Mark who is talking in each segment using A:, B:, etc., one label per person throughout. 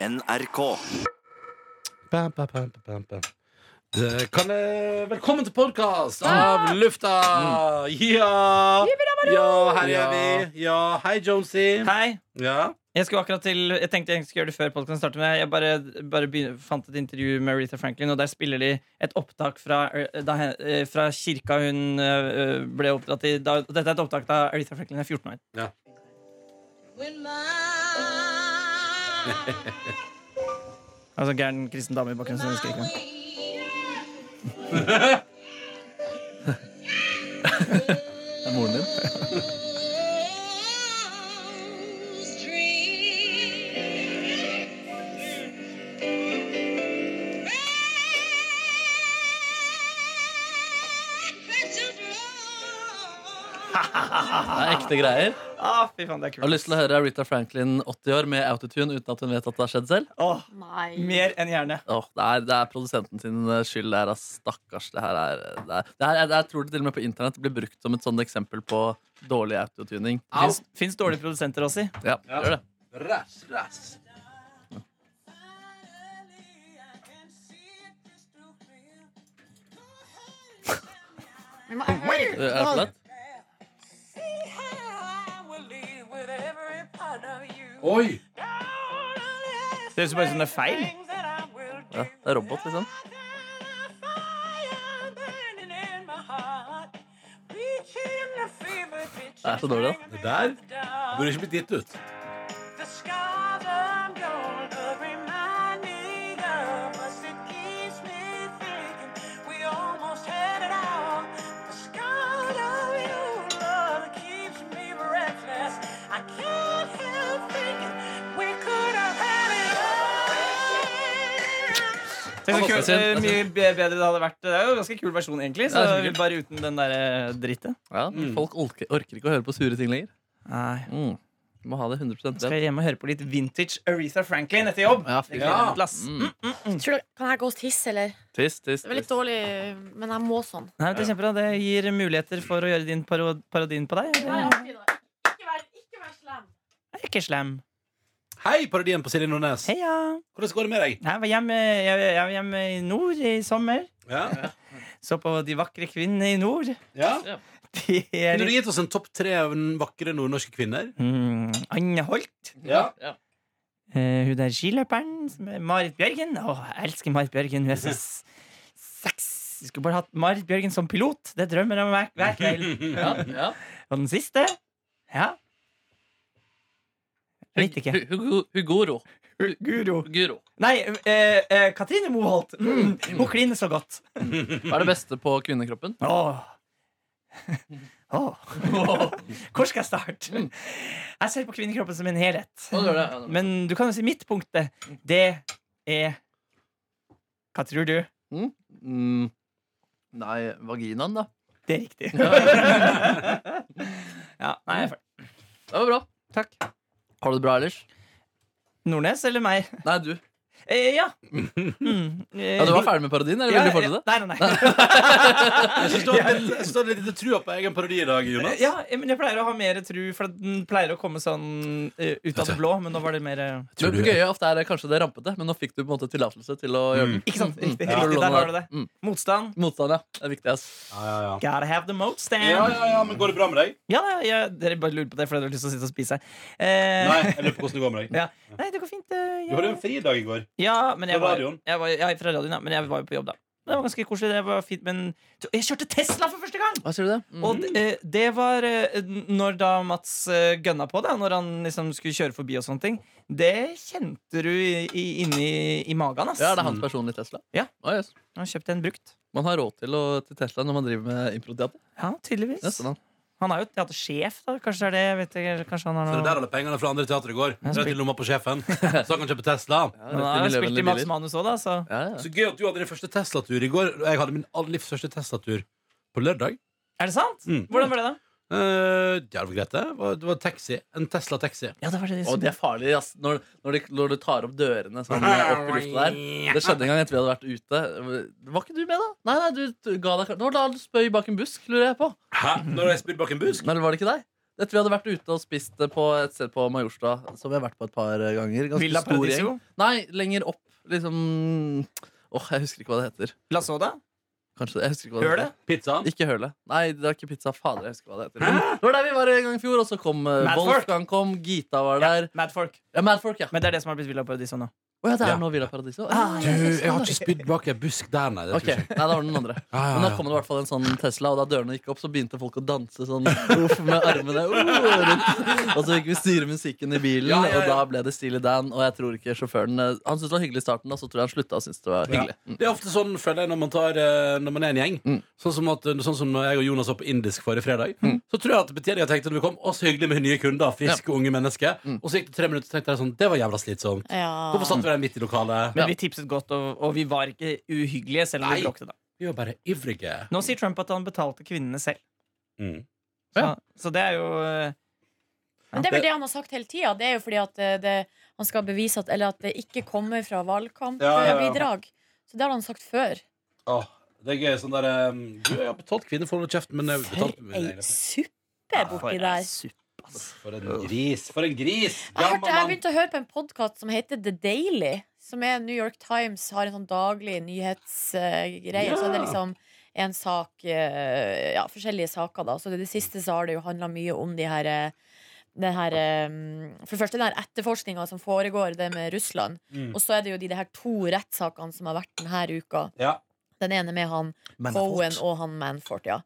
A: NRK.
B: Bam, bam, bam, bam, bam. Det kan, eh, velkommen til podkast av lufta! Ja! ja! Her er vi. Ja, hei, Jonesy.
C: Hei.
B: Ja.
C: Jeg, skulle akkurat til, jeg tenkte jeg skulle gjøre det før podcasten startet, men jeg bare, bare begyn- fant et intervju med Aretha Franklin, og der spiller de et opptak fra, eh, da, hen- eh, fra kirka hun eh, ble oppdratt i. Da, dette er et opptak da Aretha Franklin er 14 år.
D: When my
C: Altså gæren kristen dame i bakgrunnen. som skriker.
E: Det er moren din.
D: wings dream.
E: Det er ekte greier.
C: Ah, fy faen, det er
E: Jeg har
C: kult.
E: lyst til å høre Rita Franklin 80 år med autotune uten at hun vet at det har skjedd selv.
C: Åh,
F: Nei.
C: mer enn gjerne.
E: Åh, det, er, det er produsenten sin eh, skyld. Det her, ass. stakkars. Det her er, det er, det her, er- det her tror det til og med på internett blir brukt som et sånt eksempel på dårlig autotuning.
C: Fins, fins dårlige produsenter også i.
E: Ja, gjør det.
B: Rass, rass.
F: Vi må høre.
E: Er det for lett?
B: Oi!
C: Det høres jo bare ut som det er feil.
E: Ja, det er robot, liksom. Det er så dårlig, da.
B: Det der burde ikke blitt gitt ut.
G: I can't help thinking we could have had it all.
C: Tenk så
E: Det er
C: kult,
E: synd, det
C: eh,
E: er
C: mye be- bedre det hadde vært. Det er jo en ganske kul versjon, egentlig. Så
E: Ja, det er kult.
C: bare uten den derre drittet.
E: Ja, Folk orker, orker ikke å høre på sure ting lenger.
C: Nei.
E: Mm. Du må ha det 100
C: Skal
E: rett.
C: jeg hjem og høre på litt vintage Aretha Franklin etter jobb?
E: Ja,
C: Det
E: fy
C: gleder jeg
B: Ja.
C: meg til, ass.
E: Mm.
F: Tror du- Kan jeg gå og tisse, eller?
E: Tiss, tiss,
F: Det var litt
E: tiss.
F: dårlig, men jeg må sånn.
C: Nei, det, er kjempebra. det gir muligheter for å gjøre din paro parodien på deg. Det
F: Ikke vær, slem.
C: er ikke slem.
B: Hei, parodien på Silje Nordnes.
C: Heia!
B: Hvordan går det med deg?
C: Jeg var hjemme, jeg, jeg var hjemme i nord i sommer.
B: Ja.
C: Så på De vakre kvinnene i nord.
B: ja.
C: De er
B: Kunne du gitt oss en topp tre av den vakre nordnorske kvinner?
C: mm, Anne Holt.
B: Ja.
C: Eh, hun der skiløperen som er Marit Bjørgen. Åh, jeg elsker Marit Bjørgen. Hun er så s- sexy. Skulle bare hatt Marit Bjørgen som pilot. Det drømmer jeg om hver, hver kveld.
E: Ja, ja.
C: Og den siste? Ja. Jeg vet ikke.
E: Hu- Hugo- Hugoro.
C: Guro.
E: Huguro.
C: Nei, eh, eh, Katrine Moholt. Mm, hun kliner så godt.
E: Hva er det beste på kvinnekroppen?
C: Åh. Åh. Hvor skal jeg
E: Mm.
C: starte? Jeg ser på kvinnekroppen som en helhet. Men du kan jo si mitt punkt. det. Det er Hva tror du?
E: Mm. Nei, vaginaen, da.
C: Det er riktig. Ja, nei, jeg er ferdig.
E: Det var bra.
C: Takk.
E: Har du det bra ellers?
C: Nordnes eller meg?
E: Nei, du.
C: Eh, ja. Mm, eh,
E: Ja, du var ferdig med parodien? Eller vil du fortsette?
C: Nei, nei, nei.
B: Jeg synes du har litt- jeg synes du har litt litt trua på egen parodi i dag, Jonas.
C: Ja, men jeg pleier å ha mer tru, for den pleier å komme sånn eh, ut av det blå. Men nå var det mer eh,
B: Tror
E: Men
B: du-
E: gøye ofte er kanskje det Mm. rampete, men nå fikk du på en måte tillatelse til å gjøre den.
C: Ikke sant? Mm. Riktig.
E: Ja.
C: riktig der har du det.
E: Mm.
C: Motstand.
E: Motstand, ja. Det er viktig, ass.
B: Ja, ja, ja.
C: Gotta have the motstand.
B: Ja,
C: Ja,
B: ja, ja, men Går det bra med deg?
C: ja, ja, dere bare lurer på det fordi dere har lyst til å sitte og spise. Eh,
B: Nei, jeg lurer på hvordan det går med deg.
C: Ja. Nei, det går fint. eh,
B: Du hadde jo
C: ja.
B: en fridag i går.
C: ja, men jeg
B: Fra
C: var,
B: radioen.
C: jeg var, ja, fra radioen, ja, men jeg var jo på jobb da. Det var ganske koselig. Det var fint, men jeg kjørte Tesla for første gang!
E: Hva sier du det? Mm.
C: Og det, eh, det var eh, når da Mats eh, gønna på det, når han liksom skulle kjøre forbi og sånne ting. Det kjente du i, i, inni i magen, ass.
E: Ja, det er hans personlige Tesla.
C: Ja.
E: Å, jøss.
C: Han kjøpte en brukt.
E: Man har råd til, å, til Tesla når man driver med improteater.
C: Ja, tydeligvis.
E: Yes, sånn.
C: Han er jo teatersjef, da. Kanskje det er det. Jeg vet ikke, kanskje han har
B: Så det
C: noe
B: er der alle pengene fra andre teater går.
C: Ja, så-
B: Rett i lomma på sjefen. Så han kan kjøpe Tesla.
C: Men han har jo spilt i Mats
E: ja,
C: Manus òg, da. Så.
E: ja.
B: Så gøy at du hadde din første Tesla-tur i går. og Jeg hadde min all- livs første Tesla-tur på lørdag.
C: Er det sant?
B: Mm.
C: Hvordan var det, da?
B: Uh, ja, det var greit, det. Var- Det var taxi. En Tesla-taxi.
C: Ja, det var det
E: Og det er farlig ass. Når, når, de, når du tar opp dørene sånn, opp i lufta der. Det skjedde en gang etter vi hadde vært ute. Var ikke du med, da? Nei, nei, du, du ga deg Det var da du spøy bak en busk, lurer jeg på.
B: Hæ? Når jeg spydde bak en busk?
E: Nei, eller var det ikke deg? Jeg tror jeg hadde vært ute og spist det på et sted på Majorstua, som vi har vært på et par eh, ganger. Ganske
C: Villa
E: stor gjeng.
C: Paradiso?
E: Nei, lenger opp. Liksom Åh, jeg husker ikke hva det heter.
C: La Soda?
E: Kanskje det. Jeg husker ikke hva
C: Hør
E: det
C: det?
E: heter.
B: Pizza.
E: Ikke høle. Nei, det var ikke pizza. Fader, jeg husker hva det heter. Men Det var der vi var en gang i fjor, og så kom eh,
C: Mad Folk.
E: Wolfgang. kom, Gita var der.
C: Madfolk.
E: Ja, Madfolk, ja.
C: Men Ah, det er det som har blitt Villa Paradiso nå.
E: Å ja, det er
B: Ja.
E: nå Villa Paradiso.
B: Du, jeg har ikke spydd bak ei busk der, nei. Det
E: Ok,
B: tror jeg ikke.
E: Nei, det var den andre.
B: Ja, ja,
E: Men da
B: ja.
E: kom det i hvert fall en sånn Tesla, og da dørene gikk opp, så begynte folk å danse sånn uff, med armene. Uh, rundt. og så gikk vi styre musikken i bilen,
B: Ja, ja, ja.
E: og da ble det Steely Dan. Og jeg tror ikke sjåføren eh, Han syntes det var hyggelig i starten, og så tror jeg han slutta å synes det var hyggelig. Mm.
B: Det er ofte sånn, føler jeg, når man, tar, eh, når man er en gjeng.
E: Mm.
B: Sånn, som at, sånn som når jeg og Jonas var på indisk forrige fredag. Så tror jeg at betjeninga tenkte når vi kom, å så hyggelig med nye kunder. Friske, unge mennesker. Og så gikk det tre minutter, så tenkte jeg sånn, det var jævla slitsomt.
F: Ja.
B: Hvorfor satt vi der midt i lokalet?
C: Men vi tipset godt, og, og vi var ikke uhyggelige, selv om
B: Nei.
C: vi bråkte da.
B: Vi var bare ivrige.
C: Nå sier Trump at han betalte kvinnene selv.
B: Mm.
C: Så,
E: Ja.
C: så det er jo eh,
F: Men det er vel det han har sagt hele tida. Det er jo fordi at eh, det, han skal bevise at, eller at det ikke kommer fra
B: Ja, ja, ja.
F: valgkampbidrag. Så det har han sagt før.
B: Åh, det er gøy. Sånn der um, Du, jeg har betalt kvinner for å holde kjeften, men jeg
F: For
B: betalte med mine
F: ei
B: egne.
F: suppe borti der.
B: For en gris. For en gris!
F: Jeg, hørte,
B: Gammel
F: jeg
B: mann.
F: begynte å høre på en podkast som heter The Daily. Som er New York Times har en sånn daglig nyhetsgreie. Så er det liksom en sak eh, Ja, forskjellige saker, da. Så det, det siste så har det jo handla mye om de her eh, den her, eh, for det første den her etterforskninga som foregår, det med Russland.
B: Mm.
F: Og så er det jo de, de her to rettssakene som har vært denne uka.
B: Ja.
F: Den ene med han
E: Manafort.
F: Cohen og han Manfort, ja.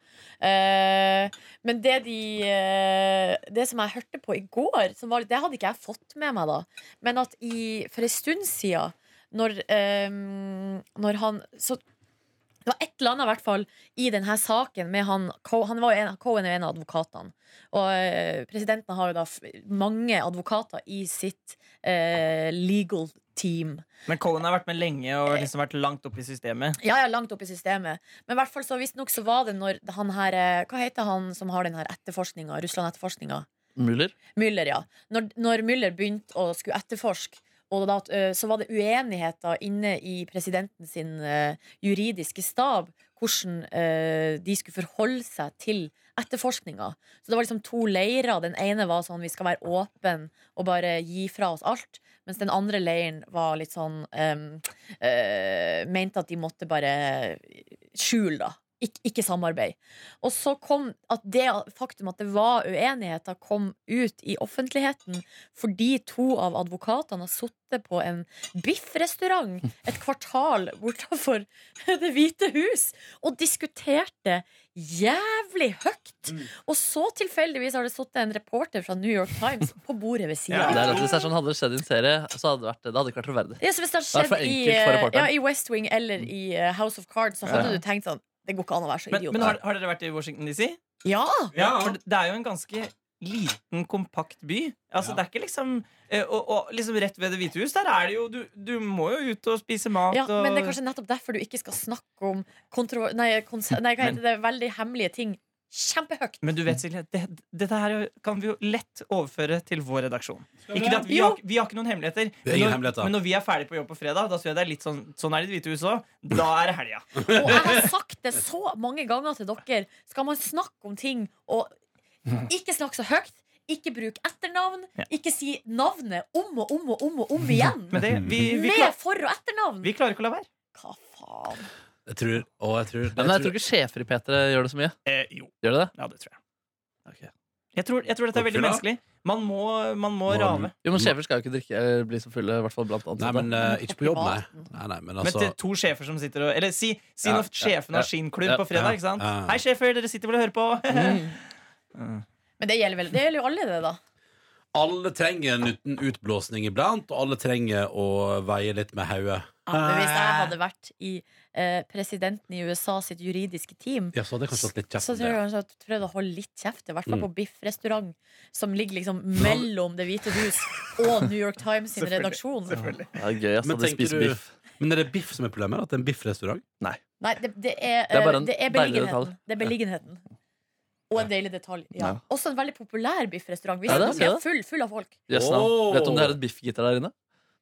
F: Eh, men det de eh, Det som jeg hørte på i går, som var, litt- det hadde ikke jeg fått med meg da, men at i, for en stund siden når, eh, når han så, Det var et eller annet i hvert fall i denne saken med han Co- han var jo en, Cohen er jo en av advokatene. Og eh, presidenten har jo da f mange advokater i sitt eh, legal team.
C: Men Cohen har vært med lenge og liksom vært langt oppe i systemet.
F: Ja, ja, langt opp i systemet. Men i hvert fall så visstnok så var det når han her eh, Hva heter han som har den her etterforskninga? Russland-etterforskninga?
E: Muller?
F: Müller, ja. Når, når Müller begynte å skulle etterforske, og da, at, eh, så var det uenigheter inne i presidenten sin eh, juridiske stab hvordan eh, de skulle forholde seg til etterforskninga. Så det var liksom to leirer. Den ene var sånn vi skal være åpen og bare gi fra oss alt. Mens den andre leiren var litt sånn em, eh, Mente at de måtte bare skjule, da. Ik ikke samarbeid. Og så kom at det faktum at det var uenigheter, kom ut i offentligheten fordi to av advokatene har sittet på en biffrestaurant et kvartal bortafor Det hvite hus og diskuterte jævlig høyt. Og så tilfeldigvis har det sittet en reporter fra New York Times på bordet ved siden
E: Det
F: av.
E: er rett. Hvis det er sånn hadde det skjedd i en serie, så hadde det vært, det hadde ikke vært troverdig.
F: Ja, så hvis det
E: Det er
F: hadde
E: for
F: skjedd i,
E: enkelt for
F: eh,
E: reporteren.
F: ja, i West Wing eller i eh, House of Cards, så hadde du tenkt sånn Det går ikke an å være så
C: Men,
F: idiot.
C: men har, har dere vært i Washington DC?
F: ja!
C: For det- det er jo en ganske liten, kompakt by. Altså,
B: Ja.
C: det er ikke liksom eh, og, og liksom rett ved Det hvite hus, der er det jo Du, du må jo ut og spise mat
F: ja,
C: og
F: men det er kanskje nettopp derfor du ikke skal snakke om kontro... Nei, kons nei hva heter det? Veldig hemmelige ting. Kjempehøyt.
C: Men du vet, Silje, det, dette her kan vi jo lett overføre til vår redaksjon.
B: vi
C: Ikke det at vi,
F: Jo.
C: har, vi har ikke noen hemmeligheter.
B: er
C: Men
B: ingen
C: når,
B: hemmeligheter.
C: Men når vi er ferdig på jobb på fredag, da tror jeg det er litt sånn Sånn er det i Det hvite hus òg. Da er det helga.
F: Og jeg har sagt det så mange ganger til dere. Skal man snakke om ting og ikke snakke så høyt, ikke bruk etternavn,
C: Ja.
F: ikke si navnet om og om og om og om igjen.
C: Men det, vi, vi,
F: Med
C: klar,
F: for- og etternavn.
C: vi klarer ikke å la være.
F: Hva faen?
B: Jeg tror Å, jeg tror,
E: Men jeg tror ikke sjefer i P3 gjør det så mye.
C: Eh, jo.
E: Gjør de det?
C: Ja, det tror jeg.
E: Ok.
C: Jeg tror, jeg tror dette er veldig
B: Oppfylla?
C: menneskelig. Man må, man må
B: Må-
C: rave.
E: Jo, men sjefer skal jo ikke drikke eller bli så fulle, i hvert fall blant ansatte.
B: Nei, men eh, ikke på jobb, nei.
F: Privaten.
B: nei, nei men
C: Men
B: altså
C: til to sjefer som sitter og Eller si, si
E: Ja,
C: når sjefen
E: ja,
C: har sin klubb
E: ja,
C: på fredag.
B: ja,
C: ikke sant?
B: ja. Mm.
C: Hei, sjefer, dere sitter vel og hører på?
F: Men det gjelder vel Det gjelder jo alle, det, da.
B: Alle trenger en uten utblåsning iblant, og alle trenger å veie litt med hodet.
F: Ja, men hvis jeg hadde vært i eh, presidenten i USA sitt juridiske team,
B: Ja, så hadde jeg kanskje hatt litt
F: så
B: kjeft.
F: tror jeg
B: med det.
F: kanskje at jeg prøvde å holde litt kjeft. I hvert fall
B: Mm.
F: på biffrestaurant, som ligger liksom mellom Det hvite hus og New York Times sin
C: Selvfølgelig,
F: redaksjon.
E: Det er gøy, ass,
B: Men
E: at de
B: tenker
E: spiser
B: du-
E: biff.
B: Men er det biff som er problemet? At det er en biffrestaurant?
F: Nei, det, det, er,
E: Det er bare
F: eh,
E: en
F: det er
E: deilig
F: beliggenheten.
E: detalj.
F: Det er beliggenheten. Og en deilig detalj. Ja.
E: Ja.
F: Også en veldig populær biffrestaurant. Hvis
E: Ja, det
F: den
E: ser
F: er
E: jeg.
F: full, full av folk.
E: Jøss, navn.
B: Åh.
E: Vet du om de har et biffgitter der inne?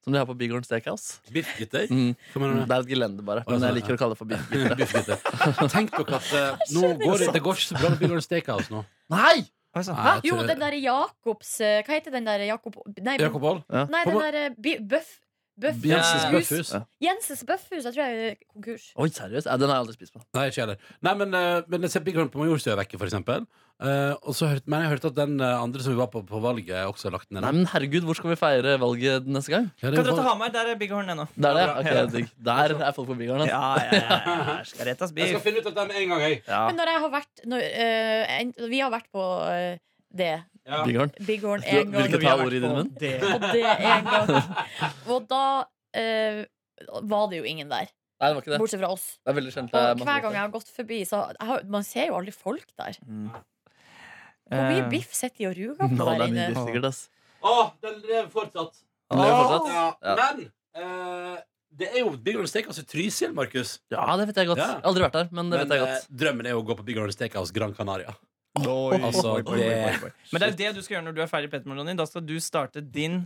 E: Som de har på Bighorn Steakhouse?
B: Biffgitter?
E: Mm.
B: Hva mener du?
E: Det er et gelende, bare.
B: Å,
E: Men
B: sånn,
E: jeg liker å kalle det for biffgitter.
B: Biffgitter. Tenk dere at eh, nå går det, det går ikke så bra med Bigger Steakhouse nå.
E: Nei!
C: Oi sann.
B: Nei, jeg
F: Jo,
B: tror-
F: den derre Jacobs eh, Hva heter den derre Jakob Nei,
B: Jakob Holl?
F: nei den
B: På-
F: derre Bi- Bøff... Bøff
B: Jensens
C: Ja.
B: Bøffhus?
E: Ja.
F: Jensens Bøffhus. Jeg tror jeg er konkurs.
E: Oi, seriøst? Ja, den har jeg aldri spist på.
B: Nei, ikke heller. Nei, men, eh, men jeg ser Big Run på Majorstøa vekke, for eksempel. Eh, og så hørte, men jeg hørte at den eh, andre som vi var på på valget, også har lagt den ned.
E: Nei, men herregud, hvor skal vi feire valget neste gang?
B: Ja, det er
C: Kan dere
B: jo
C: ta
B: valg-
C: Hamar? Der er Big Horn ennå.
E: Det er det?
B: Ja,
E: Ok,
B: ja.
E: digg. Der er folk på Biggarden.
C: Ja, ja, ja, ja. Skal rettes
B: Jeg skal
C: beef.
B: finne ut dette med en gang, jeg.
E: Ja.
F: Men når jeg har vært når, eh, en, Vi har vært på eh, det.
B: Ja.
E: Biggarden.
F: Bighorn
E: Du-
F: én gang.
E: Hvilket ta ordet i din munn?
C: Det.
F: Og det en gang. Og da eh, var det jo ingen
E: Nei,
F: der,
E: det var ikke det.
F: bortsett fra oss.
E: Det er veldig kjent. det er
F: Og
E: masse
F: hver gang
E: folk.
F: jeg har gått forbi, så jeg har, Man ser jo aldri folk der.
E: Mm.
F: Hvor mye
C: Eh,
F: biff sitter de og ruger på
E: Nå, det
F: der
E: er mye
F: inne?
E: biff, sikkert, ass.
B: Å, den lever fortsatt.
E: Den lever
B: Å,
E: fortsatt. Ja.
B: Men eh, det er jo Big Run Steakhouse i Trysil, Markus.
E: Ja, det vet jeg godt.
B: Ja.
E: Jeg har Aldri vært der, men det
B: Men
E: vet jeg
B: eh,
E: godt.
B: drømmen er jo å gå på Big Run Steakhouse Gran Canaria.
E: Oi,
B: altså,
E: oi, oi, oi,
B: det-
E: oi, oi.
C: Men det er det du skal gjøre når du er ferdig, Petter Meloni. Da skal du starte din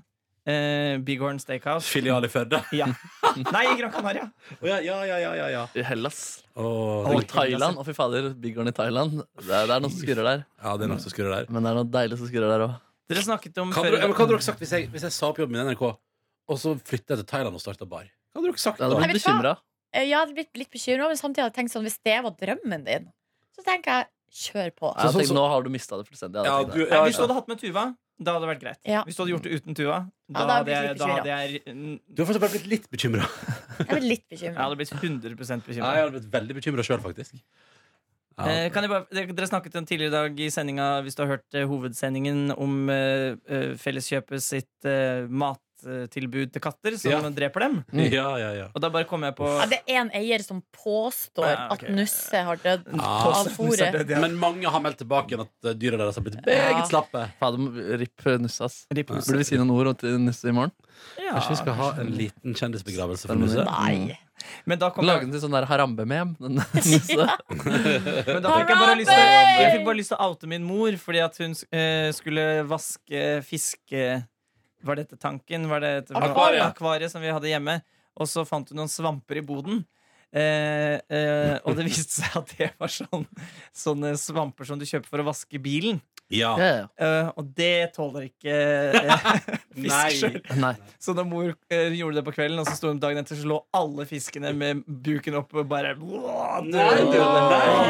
C: eh, Big Horn Steakhouse.
B: Filial i Førde.
C: Ja. Nei, i Gran Canaria.
B: Å, ja, ja, ja, ja, ja, ja.
E: I Hellas
B: Å,
E: og
B: det,
E: Thailand. Å, fy fader. Biggarden i Thailand. Det er, det er noe som skurrer der.
B: ja, det er noe som skurrer der.
E: Men det er noe deilig som skurrer der òg.
C: Dere snakket om
B: Hva
C: før-
B: hadde dere- men hva hadde dere sagt hvis jeg, hvis jeg sa opp jobben min i NRK, og så flytta jeg til Thailand og starta bar? Hva hadde dere sagt
E: Jeg
B: da?
E: hadde blitt
F: vet du hva?
E: bekymra.
F: Eh, Jeg hadde blitt litt bekymra, men samtidig hadde jeg tenkt sånn hvis det var drømmen din, så tenker jeg kjør på.
E: Jeg
B: Så-
E: tenkte,
B: så-
E: nå har du mista det
B: Ja,
E: fullstendig. Jeg
B: du-
E: tenkte,
C: Nei,
B: ja,
C: hvis du hadde hatt med Tuva, da hadde det vært greit.
F: Ja.
C: Hvis du hadde gjort det uten Tuva, da,
F: Ja, da
C: hadde, jeg,
F: hadde jeg blitt
C: da
F: litt
C: hadde jeg mm,
B: Du har fortsatt bare blitt litt bekymra.
F: Jeg ble litt
C: Jeg
F: bekymra.
C: hadde blitt 100
B: Ja,
C: bekymra.
B: jeg hadde blitt veldig bekymra sjøl, faktisk. Ja.
C: Eh, kan jeg bare, dere dere snakket om tidligere i dag i sendinga, hvis du har hørt eh, hovedsendingen, om eh, eh, Felleskjøpet sitt eh, mattilbud til katter som
B: Ja.
C: dreper dem.
B: Ja, ja, ja.
C: Og da bare kom jeg på
F: Ja, det er en eier som påstår
C: Ja, ok.
F: at Nusse har dødd
B: Ah.
F: av fôret.
B: Men mange har meldt tilbake igjen at eh, dyra deres har blitt
F: Ja.
B: meget slappe.
E: Fader, ripp Nusse, ass.
C: Ripp Nusse.
E: Burde vi si noen ord til Nusse i morgen?
C: ja.
B: Kanskje vi skal ha en liten kjendisbegravelse for Nusse?
E: Spennende.
F: Nei.
C: Men da kom
E: Lage
C: jeg,
E: den til sånn der harambemem. den Nusse.
C: men da fikk jeg bare lyst til Jeg fikk bare lyst til å oute min mor, fordi at hun eh, skulle vaske fiske... Var dette tanken? Var det et
B: Akvariet.
C: akvariet som vi hadde hjemme? Og så fant hun noen svamper i boden. Eh, eh, og det viste seg at det var sånn, sånne svamper som du kjøper for å vaske bilen.
B: Ja.
E: Ja, ja.
C: Eh, og det tåler ikke eh,
B: Nei.
C: fisk sjøl.
E: Nei.
C: Så da mor eh, gjorde det på kvelden, og så sto hun opp dagen etter, så lå alle fiskene med buken opp og bare
B: Nei,
C: død,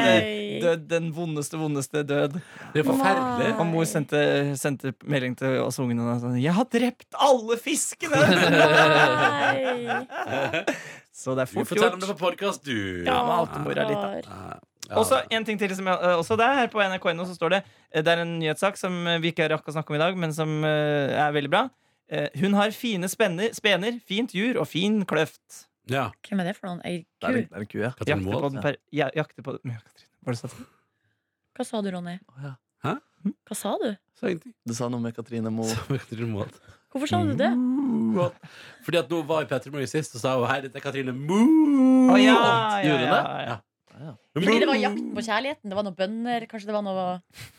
F: Nei.
C: død, Den vondeste, vondeste død.
B: Det er forferdelig.
C: Og mor sendte, sendte melding til oss ungene og sa, sånn, 'Jeg har drept alle fiskene!'
F: Nei.
C: så det er
B: Du
C: fort
B: forteller om
C: gjort.
B: det på podkast, du.
C: Ja, men
B: Ah,
C: alt mor er litt, da.
B: Ja.
C: Og så en ting til som jeg, eh, også der, her på NRK.no så står det eh, Det er en nyhetssak som eh, vi ikke rakk å snakke om i dag, men som eh, er veldig bra. Eh, Hun har fine spenner, spener, fint jur og fin kløft.
B: ja.
F: Hvem er det for noen? Ei
E: Det er en,
F: ku?
E: det er en ku, ja.
B: Katrin
C: Jakter på
B: Moholt.
C: den per... Ja, jakter på den. Ja, Katrin, Var det sant?
F: Hva sa du, Ronny?
E: Å, ja.
B: Hm?
F: Hva sa du?
B: Sa ingenting.
E: Du sa noe med Katrine Moe.
B: Sa Katrin Moholt.
F: Hvorfor sa du det?
B: Moholt. Fordi at nå var jeg i Petter Morgen sist og sa hun, hei, dette er Katrine Moholt.
C: Å, ja, ja,
E: Gjorde hun
C: ja,
E: det?
C: ja.
F: Fordi det var jakten på kjærligheten? Det var noen bønder? Kanskje det var noe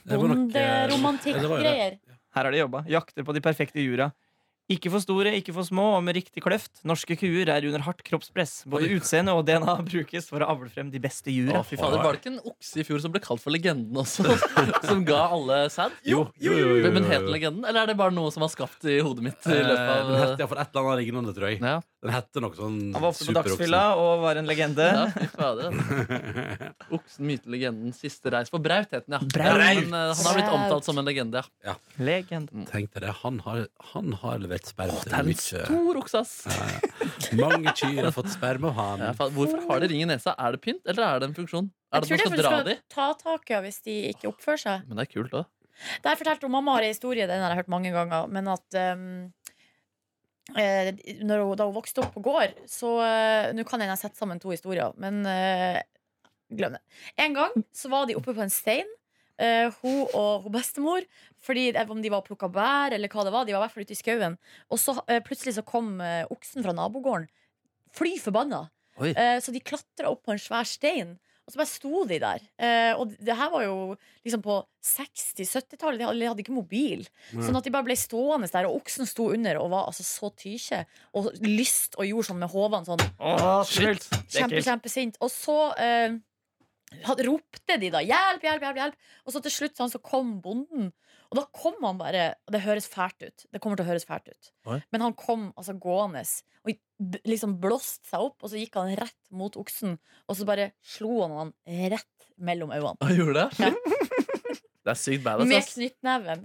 B: Det var nok, eh, ja, det var jo det.
F: bonderomantikk-greier?
C: Her har de jobba. Jakter på de perfekte jura. Ikke for store, ikke for små, og med riktig kløft. Norske kuer er under hardt kroppspress. Både
B: Oi.
C: utseende og DNA brukes for å avle frem de beste jura.
E: Å, fy fader, Var det ikke en okse i fjor som ble kalt for Legenden også? som ga alle sæd?
B: Jo, jo, jo, jo, jo.
E: Men het den Legenden, eller er det bare noe som var skapt i hodet mitt? i
B: Eh, Den
E: løpet
B: hette iallfall et eller annet lignende, tror jeg.
E: av... Ja,
B: Den hette noe sånn
C: Han var ofte på
B: superoksen.
C: dagsfylla og var en legende.
E: ja fy fader. altså. Oksen, myten, legenden, siste reis på Braut het den, ja.
C: Braut.
E: Ja, men, eh, han har blitt
F: Braut.
E: omtalt som en legende, ja.
C: Legende.
E: Mm.
B: Tenk deg det. Han har, han har levert sperma
E: Det er
B: til
E: en
B: mye.
E: stor okse, ass.
B: Mange kyr har fått sperma av han.
E: Ja, faen, hvorfor har det ring i nesa? Er det pynt, eller er det en funksjon? Er
F: Jeg
E: det
F: tror
E: at
F: det
E: man skal
F: er for
E: dra
F: du
E: de?
F: skal ta tak i henne hvis de ikke oppfører seg.
E: Men det er kult òg.
F: Der fortalte hun Mamma har en historie, den har jeg hørt mange ganger, men at ehm, eh, når hun, da hun vokste opp på gård, så eh, Nå kan jeg sette sammen to historier, men eh, glem det. En gang så var de oppe på en stein, eh, hun og hun bestemor, fordi jeg vet om de var og plukka bær, eller hva det var, de var i hvert fall ute i skauen. Og så eh, plutselig så kom eh, oksen fra nabogården, fly forbanna.
E: Oi.
F: Eh, så de klatra opp på en svær stein. Og så bare sto de der. Eh, og det her var jo liksom på 60-70-tallet. De hadde- de hadde ikke mobil. Sånn at de bare ble stående der, og oksen sto under og var altså så tykje. Og lyst og gjorde sånn med hovene sånn.
C: Åh, kult.
F: Kjempe,
C: Ekkelt.
F: kjempesint. Og så eh, hadde- ropte de da 'hjelp, hjelp, hjelp'. hjelp Og så til slutt sånn, så kom bonden. Og da kom han bare og Det høres fælt ut. Det kommer til å høres fælt ut.
E: Oi.
F: Men han kom altså gående og b- liksom blåste seg opp, og så gikk han rett mot oksen. Og så bare slo han han rett mellom øynene.
E: Han gjorde det?
F: Ja.
E: Det er sykt badass.
F: Med
E: ass.
F: knyttneven.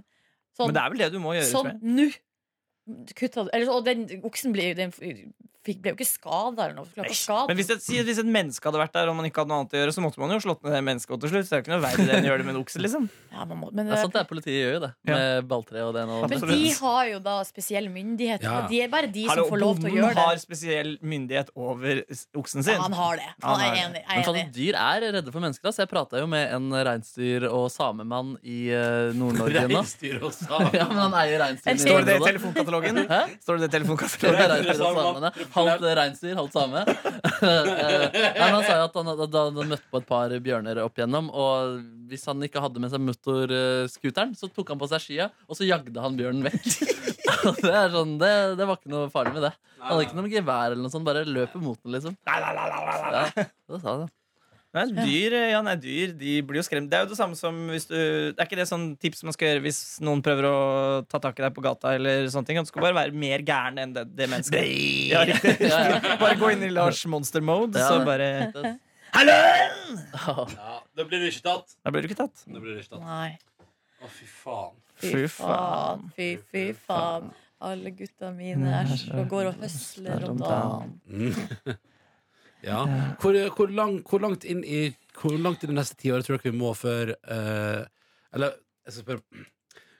F: Sånn,
C: Men det er vel det du må gjøre. tror
F: sånn
C: jeg.
F: nå! Kutta du Eller, Og den oksen ble, jo- den fikk, ble jo ikke skada eller noe. for klarte å skade
C: Men hvis et, si- hvis et menneske hadde vært der, og man ikke hadde noe annet å gjøre, så måtte man jo slått ned det mennesket til slutt. Så det er jo ikke noe verre det enn å gjøre det med en okse, liksom.
F: den. Ja, man må, men,
E: Det er sant det er politiet gjør jo det. Med balltre og det nå.
F: Men
C: Absolutt.
F: de har jo da spesiell myndighet.
B: Ja.
F: og De er bare de
C: Hallo,
F: som får lov til å
C: bonden
F: gjøre
C: har
F: det.
C: spesiell myndighet over s- oksen
F: Ja,
C: sin.
F: han har det.
C: Han
F: Han
C: har
F: er
C: det.
F: enig.
E: Men sånn-
F: Jeg er
E: faen,
F: enig.
E: dyr er redde for mennesker. ass. Jeg prata jo med en reinsdyr- og samemann i eh, Nord-Norge nå.
B: Reinsdyr og sam.
E: Ja, men han eier reinsdyr.
C: Står det det i telefonkatalogen? Står det det i
E: Står det
C: telefonkatalogen?
E: reinsdyr og samene? Halvt reinsdyr, halvt same. Eh, Nei, men han sa jo at han, hadde- da han møtte på et par bjørner opp igjennom, og hvis han ikke hadde med seg motorskuteren, så tok han på seg skia, og så jagde han bjørnen vekk. Og det, er sånn, det, det var ikke noe farlig med det. Han hadde ikke noe gevær eller noe sånt, bare løper mot den, liksom. Ja, det sa han.
C: Nei, dyr, ja, nei, dyr de blir jo skremt. Det er jo det samme som hvis du Det er ikke det sånn tips man skal gjøre hvis noen prøver å ta tak i deg på gata. eller sånne ting at Du skal bare være mer gæren enn det, det mennesket. Ja, riktig.
E: Ja, ja.
C: bare gå inn i Lars monster-mode,
E: Ja,
C: så
E: det-
C: bare
E: Det-
C: Hallo!
E: Åh.
B: Ja, da blir du ikke tatt.
C: Da blir du ikke tatt.
B: Da blir du ikke tatt.
F: Nei.
B: Å, fy faen.
F: Fy faen, fy, fy faen. Alle gutta mine er så går og høsler om dagen.
B: Mm. Ja. Hvor, hvor, lang, hvor, langt inn i, hvor langt inn i det neste tiåret tror dere vi må før eh, Eller jeg skal spørre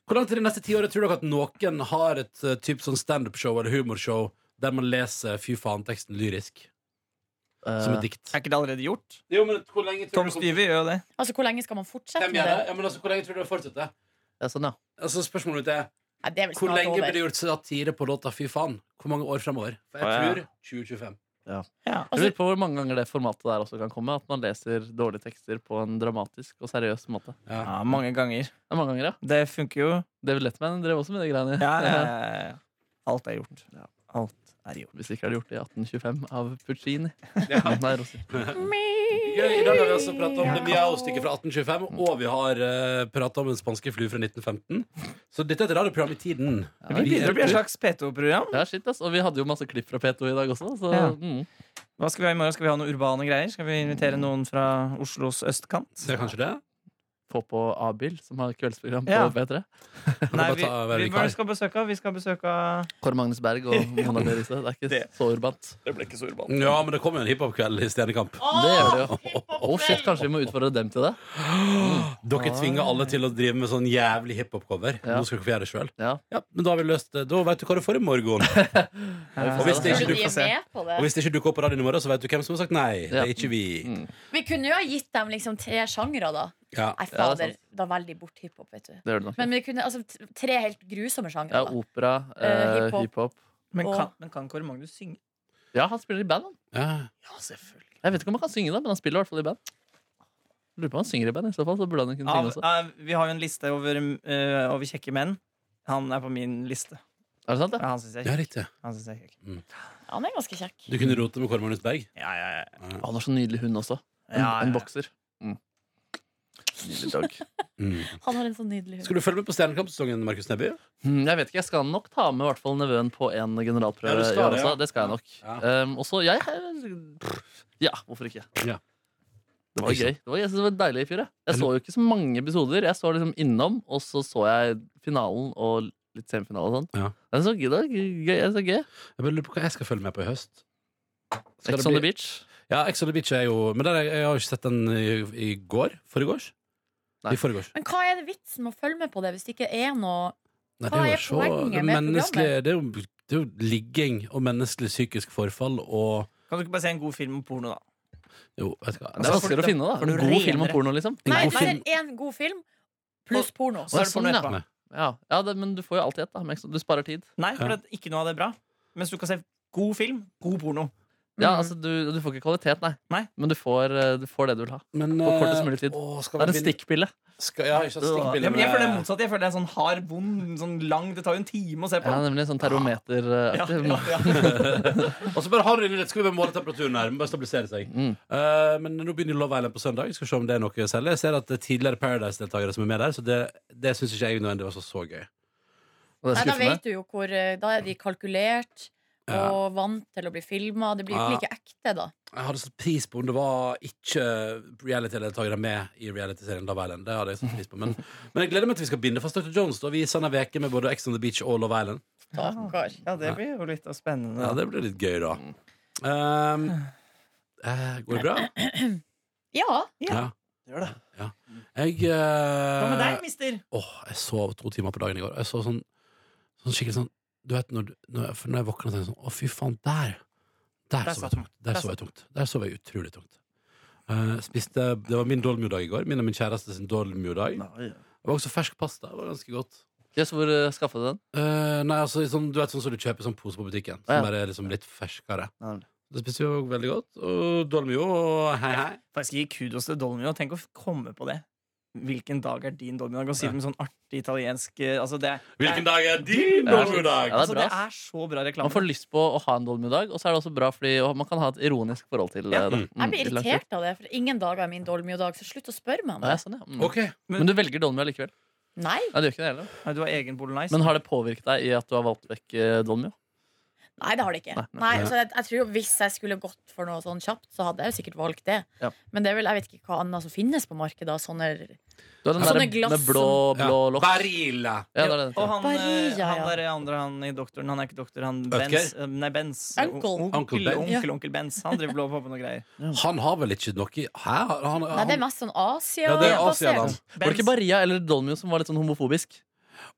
B: Hvor langt inn i det neste tiåret tror dere at noen har et eh, typ sånn standup-show eller humorshow der man leser fy faen-teksten lyrisk? Som
E: Eh,
B: et dikt.
C: Er ikke det allerede gjort?
B: Jo, men hvor lenge
C: Tom Stevie gjør jo det.
F: Altså, hvor lenge skal man fortsette med det?
B: altså, fortsetter?
E: ja, sånn, ja.
B: Altså, spørsmålet mitt er
F: Nei, det er vel
B: hvor
F: snart
B: lenge blir
F: over.
B: det gjort satire på låta Fy faen? Hvor mange år fremover? For
C: Å, ja.
B: jeg tror 2025.
E: Jeg lurer på hvor mange ganger det formatet der også kan komme. At man leser dårlige tekster på en dramatisk og seriøs måte.
B: Ja.
C: Ja, mange ganger.
E: Det er mange ganger, ja.
C: Det funker jo.
E: David Letterman drev også med de greiene.
C: Ja, ja, ja, ja. Alt er gjort. Alt er gjort.
E: Hvis ikke er det gjort i 1825 av Puccini.
B: Ja.
E: Nei, Rossi.
B: Gøy, I dag har vi altså prata om det Miao-stykket fra 1825, og vi har uh, prata om Den spanske flue fra 1915. Så dette er et radioprogram i tiden.
C: Vi begynner å bli et slags P2-program.
E: Ja, shit, ass. Og vi hadde jo masse klipp fra P2 i dag også. Så,
C: Ja.
E: mm.
C: Hva skal vi ha i morgen? Skal vi ha noen urbane greier? Skal vi invitere noen fra Oslos østkant?
B: Det er kanskje det?
E: Få på Abil, som har kveldsprogram på
C: Ja.
E: P3.
B: Kan
C: Nei,
B: bare
C: vi,
B: ta, være
C: vi,
B: vikar.
C: vi skal besøke Vi skal besøke
E: Kåre Magnus Berg og Mona Berise. Det er ikke
C: Det.
E: så urbant.
C: Det ble ikke så urbant.
B: Ja, men det kommer jo en hiphop-kveld i Stjernekamp.
E: Det gjør det jo. Å, shit, kanskje vi må utfordre dem til det?
B: Dere tvinger alle til å drive med sånn jævlig hiphop-cover.
E: Ja.
B: Nå skal dere få gjøre det sjøl.
E: Ja.
B: Ja, men da har vi løst det. Da veit du hva du får i morgen. Og hvis det ikke
F: Tror du
B: du
F: de er med på
B: Og
F: det?
B: hvis det ikke dukker opp på radioen i morgen, så vet du hvem som har sagt nei. Det er ikke vi.
F: Vi kunne jo ha gitt dem liksom tre sjangre, da.
B: Ja.
F: Nei,
E: Ja, det er
F: fader, da velger de bort hiphop, vet du.
E: Det gjør det nok.
F: Men vi kunne, altså, t- tre helt grusomme
E: Ja,
F: sjangre. da.
E: opera, eh,
F: Eh, hiphop.
E: hiphop.
C: Men
F: Og-
C: kan, men kan Kåre Magnus synge?
E: Ja, han spiller i band, han.
B: Ja.
C: Ja, selvfølgelig.
E: Jeg vet ikke om han kan synge, da, men han spiller i hvert fall i band. Lurer på om han synger i band. I så fall så burde han kunne synge også.
C: vi har jo en liste over, eh, over kjekke menn. Han er på min liste.
E: Er det sant, det?
C: Ja, han syns jeg
B: ja,
C: er kjekk.
B: riktig.
C: Han synes jeg er kjekk.
F: Han er ganske kjekk.
B: Du kunne rote med Kåre Magnus Berg.
C: Ja, ja, ja.
E: Å, Han har så nydelig hund også. En,
C: Ja, ja,
E: en
C: ja.
E: bokser. Mm. Nydelig dog.
B: Mm.
F: Han har en sånn nydelig hund.
B: Skal du følge med på Stjernekamp-sesongen, Markus Neby?
E: Mm, Jeg vet ikke, jeg skal nok ta med i hvert fall nevøen på en generalprøve.
B: Ja, du skal
E: i år
B: det,
E: også.
B: ja.
E: Det skal jeg nok.
B: Ja.
E: Um, og så jeg pff, Ja, hvorfor ikke?
B: Ja.
E: Det var
B: Ikke
E: gøy.
B: sant?
E: Det var, jeg synes det var deilig i fjor. Jeg. jeg
B: Jeg
E: så jo ikke så mange episoder. Jeg så liksom innom, og så så jeg finalen og litt semifinale og sånn.
B: Ja.
E: Det er så gøy. Det er gøy. Det er så gøy.
B: Jeg bare lurer på hva jeg skal følge med på i høst. Skal det
E: Ex on the
B: bli-
E: beach.
B: Ja, Ex on the Beach er jo Men der, er- jeg har jo ikke sett den i, i går? Foregårs?
E: Nei.
B: I forgårs.
F: Men hva er det vitsen med å følge med på det hvis det ikke er noe
B: Nei,
F: Hva er
B: å se-
F: poenget
B: det er
F: med
B: menneskelig- det, er jo, det er jo ligging og menneskelig psykisk forfall og
C: Kan du ikke bare se en god film om porno, da?
B: Jo, vet du hva.
E: Det er
C: Altså,
E: vanskeligere å finne, da.
C: for du
E: En god film
C: renere.
E: og porno, liksom.
B: En
F: Nei,
B: god
F: det er
B: film.
F: én god film pluss porno.
C: Så er det
E: sånn,
C: porno
E: ja.
C: etterpå.
E: Ja, ja det, men du får jo alltid et, da. med Ex on- Du sparer tid.
C: Nei, for det, ikke noe av det er bra. Mens du kan se god film, god porno.
E: Ja,
B: Mm.
E: altså, du, du får ikke kvalitet, nei.
C: Nei.
E: Men du får, eh, du får det du vil ha.
B: Men,
E: På kortest
B: eh,
E: mulig tid.
B: Å, skal
E: Det
B: vi
E: er en
B: begynne-
E: stikkpille.
B: Skal, ja, ikke sant, stikkpille
C: Ja, men jeg
B: med-
C: føler det motsatte. Jeg føler det er sånn hard, vond, sånn lang. Det tar jo en time å se på.
E: Ja, nemlig sånn termometeraktig.
C: Ja, ja, ja.
B: Og så bare har du det inni litt, skal vi bare måle temperaturen her. Må Bare stabilisere seg.
E: Mm.
B: Eh, men nå begynner Love Island på søndag. Skal se om det er noe å selge. Jeg ser at det er tidligere Paradise-deltakere som er med der, så det, det syns ikke jeg nødvendigvis var så gøy.
E: Og det er
F: Nei, da
E: skuffende.
F: vet du jo hvor eh, Da er de kalkulert
B: Ja. Ah.
F: og vant til å bli filma. Det blir jo
B: Ja.
F: ikke like ekte, da.
B: Jeg hadde satt pris på om det var ikke reality-deltakere med i reality-serien Love Island. Det hadde jeg satt pris på Men, men jeg gleder meg til vi skal binde fast Dr. Jones. Da. Vi sender veke med både Ex on the Beach og Love Island.
F: Stakkar.
C: Ja, det blir jo litt spennende.
B: Ja, Det blir litt gøy, da. Um, eh, går det bra?
F: Ja.
B: Ja.
C: Gjør det.
B: Ja. Jeg
C: Hva med
B: eh,
C: deg, mister?
B: Åh, jeg sov to timer på dagen i går. Jeg så sånn, sånn skikkelig sånn Du vet når, du, når, jeg, for når jeg våkner og tenker sånn Å, fy faen, der! Der,
C: Der
B: sov
C: satt
B: jeg tungt. Der,
C: Der
B: sov jeg tungt. Der sov jeg utrolig tungt. Eh, spiste Det var min dolmio-dag i går. Min og min kjæreste sin dolmio-dag. Det var også fersk pasta. Det var ganske godt.
E: Jøss, hvor uh, skaffa du den?
B: Eh, nei, altså, i sånn, du vet sånn som du kjøper i sånn pose på butikken,
E: Ja.
B: som bare er liksom litt ferskere.
E: Nemlig.
B: Det spiste vi jo veldig godt. Og dolmio og hei, hei.
C: Faktisk gi kudos til Dolmio. Tenk å komme på det. Hvilken dag er din Dolmio? Og si det med sånn artig italiensk eh, altså det, er-
B: Hvilken dag er din
E: Ja.
B: dolmio-dag?
E: Ja,
C: altså,
E: det er bra,
C: det
E: ass.
C: er så bra reklame.
E: Man får lyst på å ha en dolmiodag, og så er det også bra fordi og man kan ha et ironisk forhold til
C: Ja.
E: eh, det.
F: Jeg
E: Mm,
F: blir
E: i lang tid.
F: irritert av det, for ingen dager er min Dolmio-dag, så slutt å spørre meg om
E: Ja,
F: det.
E: sånn, ja. Mm.
B: OK.
E: Men du velger dolmio likevel?
F: Nei.
E: Nei, du gjør ikke det heller.
C: Nei, Du har egen bolognese.
E: Men har det påvirket deg i at du har valgt vekk eh, dolmio?
F: Nei, det har det ikke.
E: Nei,
F: Nei, så jeg, jeg tror jo Hvis jeg skulle gått for noe sånn kjapt, så hadde jeg jo sikkert valgt det.
E: Ja.
F: Men det er vel, jeg vet ikke hva annet som finnes på markedet. av Sånne,
E: Du har den
F: Ja,
E: der
F: sånne glass
E: med blå, blå lokk.
B: Barilla.
E: Ja, det er det.
C: og han,
F: Barilla,
C: eh, han
F: ja.
C: der andre, han i doktoren, han er ikke doktor, han
B: Butker?
C: Benz. eh, Nei, Benz.
F: Uncle.
C: O-
B: Uncle
C: Onkel,
B: Ben.
C: onkel, onkel Benz. Han driver blå på med noe greier.
B: Han har vel ikke noe i- Hæ? Han, han,
F: nei, det er mest sånn
B: Ja, det er Asia, da.
F: Asia-basert.
E: Var det ikke Maria eller Dolmio som var litt sånn homofobisk?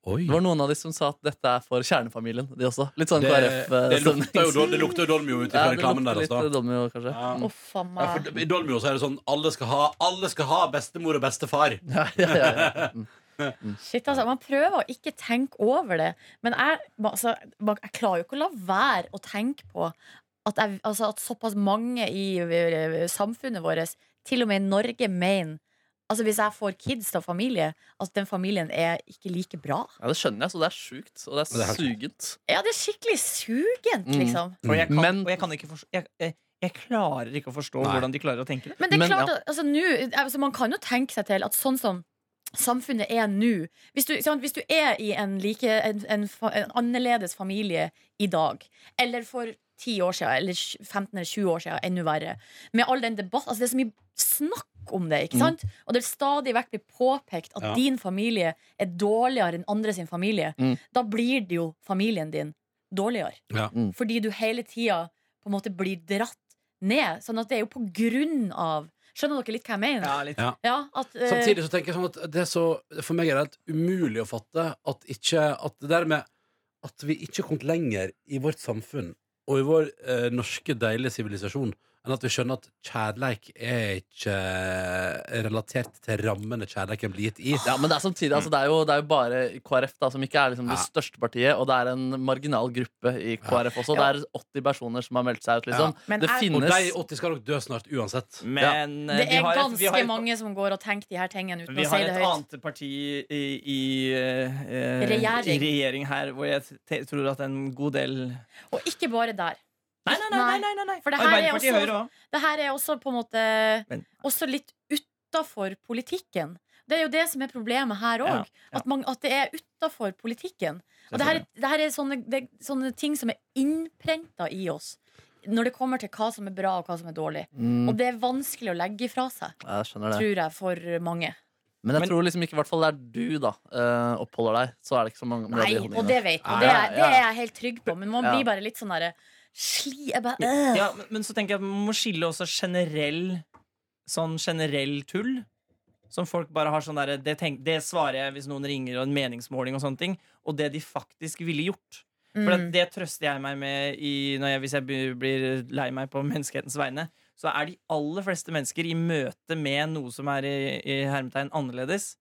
B: Oi.
E: Det var noen av de som sa at dette er for kjernefamilien, de også. Litt sånn
B: Det, det
E: KrF-stemning.
B: lukter jo, det lukter jo Dolmio ut i reklamen der.
E: litt eh,
B: Altså.
E: Dolmio, kanskje.
B: Ja.
F: Å, faen
B: Ja,
F: meg.
B: for I Dolmio så er det sånn alle skal ha, alle skal ha bestemor og bestefar.
F: Eh.
E: Ja, ja, ja, ja. Mm.
F: Shit, altså, man prøver å ikke tenke over det. Men jeg, altså, man- jeg klarer jo ikke å la være å tenke på at, jeg, altså, at såpass mange i eh, samfunnet vårt, til og med i Norge, mener Altså Hvis jeg får kids av familie, at den familien er ikke like bra.
E: Ja, det skjønner jeg, så det er sjukt. Og det
B: Det er
E: er
B: helt-
E: sugent.
F: Ja, det er skikkelig sugent,
E: Mm.
F: liksom.
C: Og jeg kan,
E: Men-
C: og jeg kan ikke forstå jeg, eh, jeg klarer ikke å forstå
B: Nei.
C: hvordan de klarer å tenke det.
F: Men det er
E: Men,
F: klart
E: ja.
F: at altså, nå- altså, Man kan jo tenke seg til at sånn som samfunnet er nå Hvis du, ikke sant, hvis du er i en, like, en, en, fa- en annerledes familie i dag, eller for 10 år siden, eller tj- 15 eller 20 år siden, enda verre Med all den debatt, altså Det er så mye snakk om det,
C: Mm.
F: ikke sant? Og det vil stadig vekk bli påpekt at
B: Ja.
F: din familie er dårligere enn andre sin familie.
E: Mm.
F: Da blir det jo familien din dårligere.
B: Ja.
E: Mm.
F: Fordi du hele tida på en måte blir dratt ned. Sånn at det er jo på grunn av Skjønner dere litt hva jeg mener?
C: Ja, litt.
B: Ja.
F: Ja, at, eh,
B: Samtidig så tenker jeg sånn at det er så, for meg er det helt umulig å fatte at ikke At det der med at vi ikke har kommet lenger i vårt samfunn og i vår eh, norske, deilige sivilisasjon enn at vi skjønner at kjærleik er ikke relatert til rammene kjærleiken blir gitt i.
E: Ja, men det er samtidig, altså, det, er jo, det er jo bare KrF da, som ikke er liksom, det
B: Mm. Ja.
E: største partiet, og det er en marginal gruppe i KrF også. Det er 80 personer som har meldt seg ut, liksom.
F: Men
E: Det
F: er-
B: Og
E: finnes
B: de 80 skal nok dø snart uansett.
C: Men eh,
F: det
C: vi
F: er
C: har et- vi
F: ganske
C: har et-
F: mange som går og tenker de her tingene uten
C: Vi
F: å
C: har
F: si
C: et
F: det høyt.
C: annet parti i, i, eh,
F: Regjering.
C: i regjering her, hvor jeg te- tror at en god del Nei,
F: Og ikke bare der.
C: nei, nei! nei, nei, nei, nei.
F: For det her er
C: Arbeiderpartiet
F: også-
C: Høyre òg.
F: Det her er også på en måte
C: Men-
F: Også litt utafor politikken. Det er jo det som er problemet her òg.
C: Ja, ja.
F: At, man- at det er utafor politikken. Og det her, er- det her er sånne, det, er sånne ting som er innprenta i oss. Når det kommer til hva som er bra, og hva som er dårlig.
E: mm,
F: Og det er vanskelig å legge ifra seg,
E: Jeg skjønner det.
F: tror jeg, for mange.
E: Men jeg
C: Men-
E: tror liksom ikke, i hvert fall der du da eh, oppholder deg, så er det ikke så mange
F: Nei,
E: de
F: og
E: holdningene.
F: det vet man.
E: Ja,
F: Det
E: ja,
F: er, det er jeg helt trygg på. Men man
E: Ja.
F: blir bare litt sånn derre Sli jeg bare, øh.
C: Ja, men, men så tenker jeg at man må skille også generell sånn generell tull. Som folk bare har sånn derre det, tenk- det svarer jeg hvis noen ringer, og en meningsmåling og sånne ting. Og det de faktisk ville gjort. For det,
F: Mm.
C: det trøster jeg meg med i, når jeg, hvis jeg blir- blir lei meg på menneskehetens vegne. Så er de aller fleste mennesker i møte med noe som er i, i hermetegn annerledes,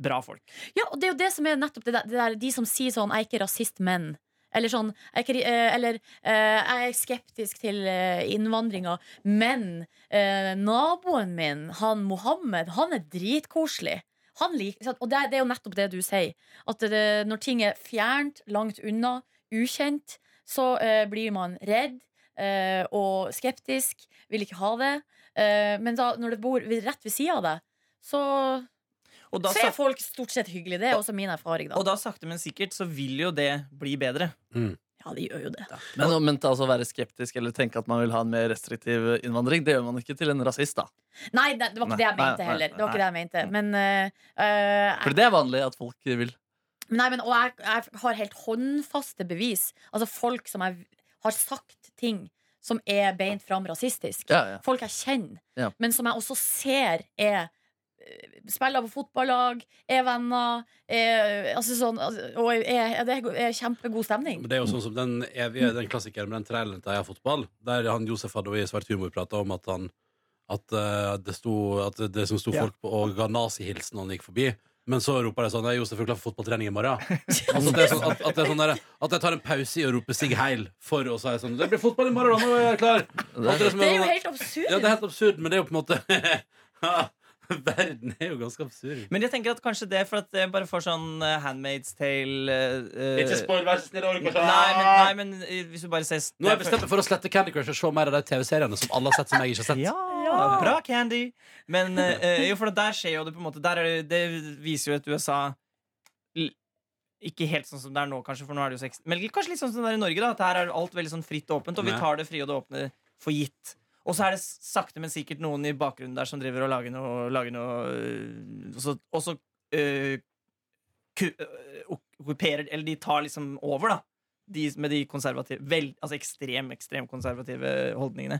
C: bra folk.
F: Ja, og det er jo det som er nettopp det der, det der de som sier sånn 'jeg er ikke rasist, men' Eller sånn jeg, er kri- eh, Eller eh, jeg er skeptisk til eh, innvandringa, men eh, naboen min, han Mohammed, han er dritkoselig. Han liker, sant? og det, er- det er jo nettopp det du sier. At det, når ting er fjernt, langt unna, ukjent, så eh, blir man redd eh, og skeptisk. Vil ikke ha det. Eh, men da, når det bor ved- rett ved sida av deg, så,
C: Og da,
F: så er
C: sak-
F: folk stort sett hyggelige. Det er også min erfaring, da.
C: og da sakte, men sikkert så vil jo det bli bedre.
F: Ja, de gjør jo det.
E: Men, men altså, å være skeptisk eller tenke at man vil ha en mer restriktiv innvandring, det gjør man ikke til en rasist, da.
F: Nei, det, det var
E: Nei,
F: ikke det jeg
E: nei,
F: mente
E: nei,
F: heller. Det var ikke det
E: nei.
F: jeg mente. Men, eh, eh,
E: For det er vanlig at folk vil
F: nei, men og jeg, jeg har helt håndfaste bevis. Altså folk som jeg har sagt ting som er beint fram rasistisk.
E: Ja, ja.
F: Folk jeg kjenner,
E: Ja.
F: men som jeg også ser er eh, Spiller på fotballag, er venner er, altså sånn, altså, Og er, er, det er kjempegod stemning.
B: Men det er jo sånn som den evige Den klassikeren med den traileren til Heia Fotball, der han Josef Hadoi i Svart humor prata om at han At eh, det sto At det som sto
C: Ja.
B: folk på og ga nazihilsen når han gikk forbi. Men så roper de sånn «Nei, Josef er klar for fotballtrening i morgen. altså, det er sånn, at, at, det er sånn der, at jeg tar en pause i å rope Sig Heil for å si sånn Det blir fotball i morgen, da! Nå er jeg klar! At som
F: Det er jo helt absurd.
B: Ja, det er helt absurd, men det er jo på en måte Verden er jo ganske absurd.
C: Men jeg tenker at kanskje det, for at jeg bare får sånn eh, Handmaid's Tale eh, eh,
B: spoil, vær så snill.
C: Nei, men, nei, men eh, hvis du bare ser
B: Nå har jeg bestemt meg for å slette Candy Crush og se mer av de TV-seriene som alle har sett. som jeg ikke har sett
C: Ja, bra, Candy! Men eh, jo, for der skjer jo det på en måte der er det, det viser jo et USA l- ikke helt sånn som det er nå, kanskje, for nå er det jo seks Men kanskje litt sånn som det er i Norge, da. At her er alt veldig sånn fritt og åpent, og vi
B: Ja.
C: tar det frie og det åpne for gitt. Og så er det s- sakte, men sikkert noen i bakgrunnen der som driver og lager noe, lager noe øh, Og så, og så øh, ku- øh, okkuperer Eller de tar liksom over, da. De, med de konservative vel, Altså ekstrem, ekstrem konservative holdningene.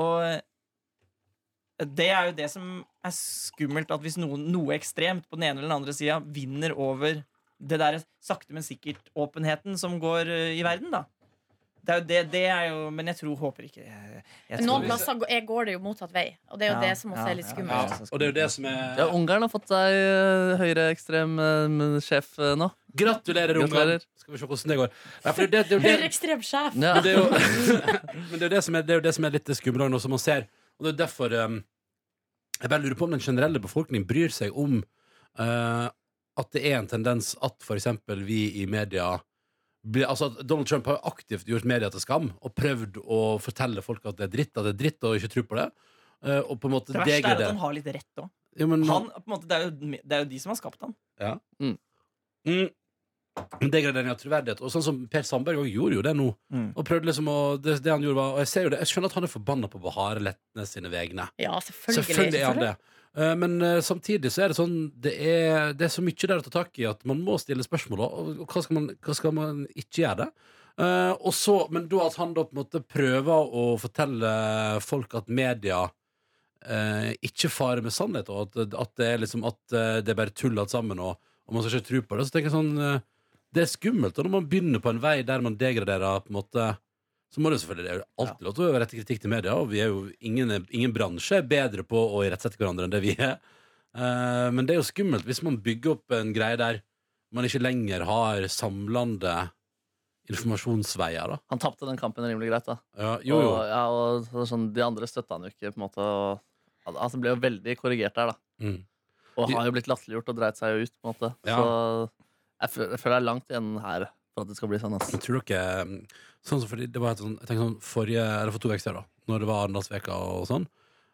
C: Og eh, det er jo det som er skummelt, at hvis noen, noe ekstremt på den ene eller den andre sida vinner over det der sakte, men sikkert åpenheten som går eh, i verden, da. Det er jo det, det er jo Men jeg tror Håper ikke jeg, jeg
F: Noen
C: tror-
F: plasser går- går det jo motsatt vei, og det er jo
C: Ja,
F: det som også
C: ja,
F: er litt
C: ja,
B: Ja,
F: skummelt.
B: og det er jo det som er
E: Ja, Ungarn har fått seg eh, høyreekstrem eh, sjef eh, nå.
B: Gratulerer, Ungarn!
E: Gratulerer.
B: Skal vi se hvordan det går. Nei, for det, det, er jo det,
F: Høyreekstrem sjef!
E: Ja.
B: Men det er jo, men det, er jo det, som er, det er jo det som er litt skummelt nå, som man ser. Og det er derfor um, jeg bare lurer på om den generelle befolkningen bryr seg om eh, at det er en tendens at f.eks. vi i media blir, altså at Donald Trump har jo aktivt gjort media til skam og prøvd å fortelle folk at det er dritt, at det er dritt, og ikke tro på det. eh, og på en måte
C: Det verste er at han
B: degradere.
C: har litt rett òg.
B: Jo, men-
C: Det, er jo- det er jo de som har skapt han.
B: Mm. Men Degradering av troverdighet. Og sånn som Per Sandberg også gjorde jo det nå.
C: Mm.
B: Og prøvde liksom å, det, det han gjorde var Og jeg ser jo det, jeg skjønner at han er forbanna på Bahare Letnes sine vegne.
F: Ja, selvfølgelig.
B: Selvfølgelig er han det. Eh, Men eh, samtidig så er det sånn Det er, det er så mye der å ta tak i at man må stille spørsmål, og, og hva, skal man, hva skal man ikke gjøre det? Eh, og så, men da at han da på en måte prøver å fortelle folk at media eh, ikke farer med sannhet, og at, at det er liksom at eh, det er bare tull alt sammen, og, og man skal ikke tro på det, så tenker jeg sånn eh, Det er skummelt, og når man begynner på en vei der man degraderer på en måte så må det jo selvfølgelig det er jo alltid lov til å rette kritikk til media. Og vi er jo, ingen, ingen bransje er bedre på å irettesette hverandre enn det vi er. Eh, men det er jo skummelt hvis man bygger opp en greie der man ikke lenger har samlende informasjonsveier. Da.
E: Han tapte den kampen rimelig greit, da.
B: Ja, jo, jo.
E: Og, ja, og så- sånn, de andre støtta han jo ikke, på en måte. Og, al- altså, han ble jo veldig korrigert der, da.
B: Mm.
E: Og har jo blitt latterliggjort og dreit seg jo ut, på en måte.
B: Ja.
E: Så jeg føler, jeg føler det er langt igjen her for at det skal bli sånn. ass.
B: Men tror dere sånn som fordi det var et sånn, jeg tenker sånn forrige, eller For to uker siden, da, når det var Arendalsveka og sånn,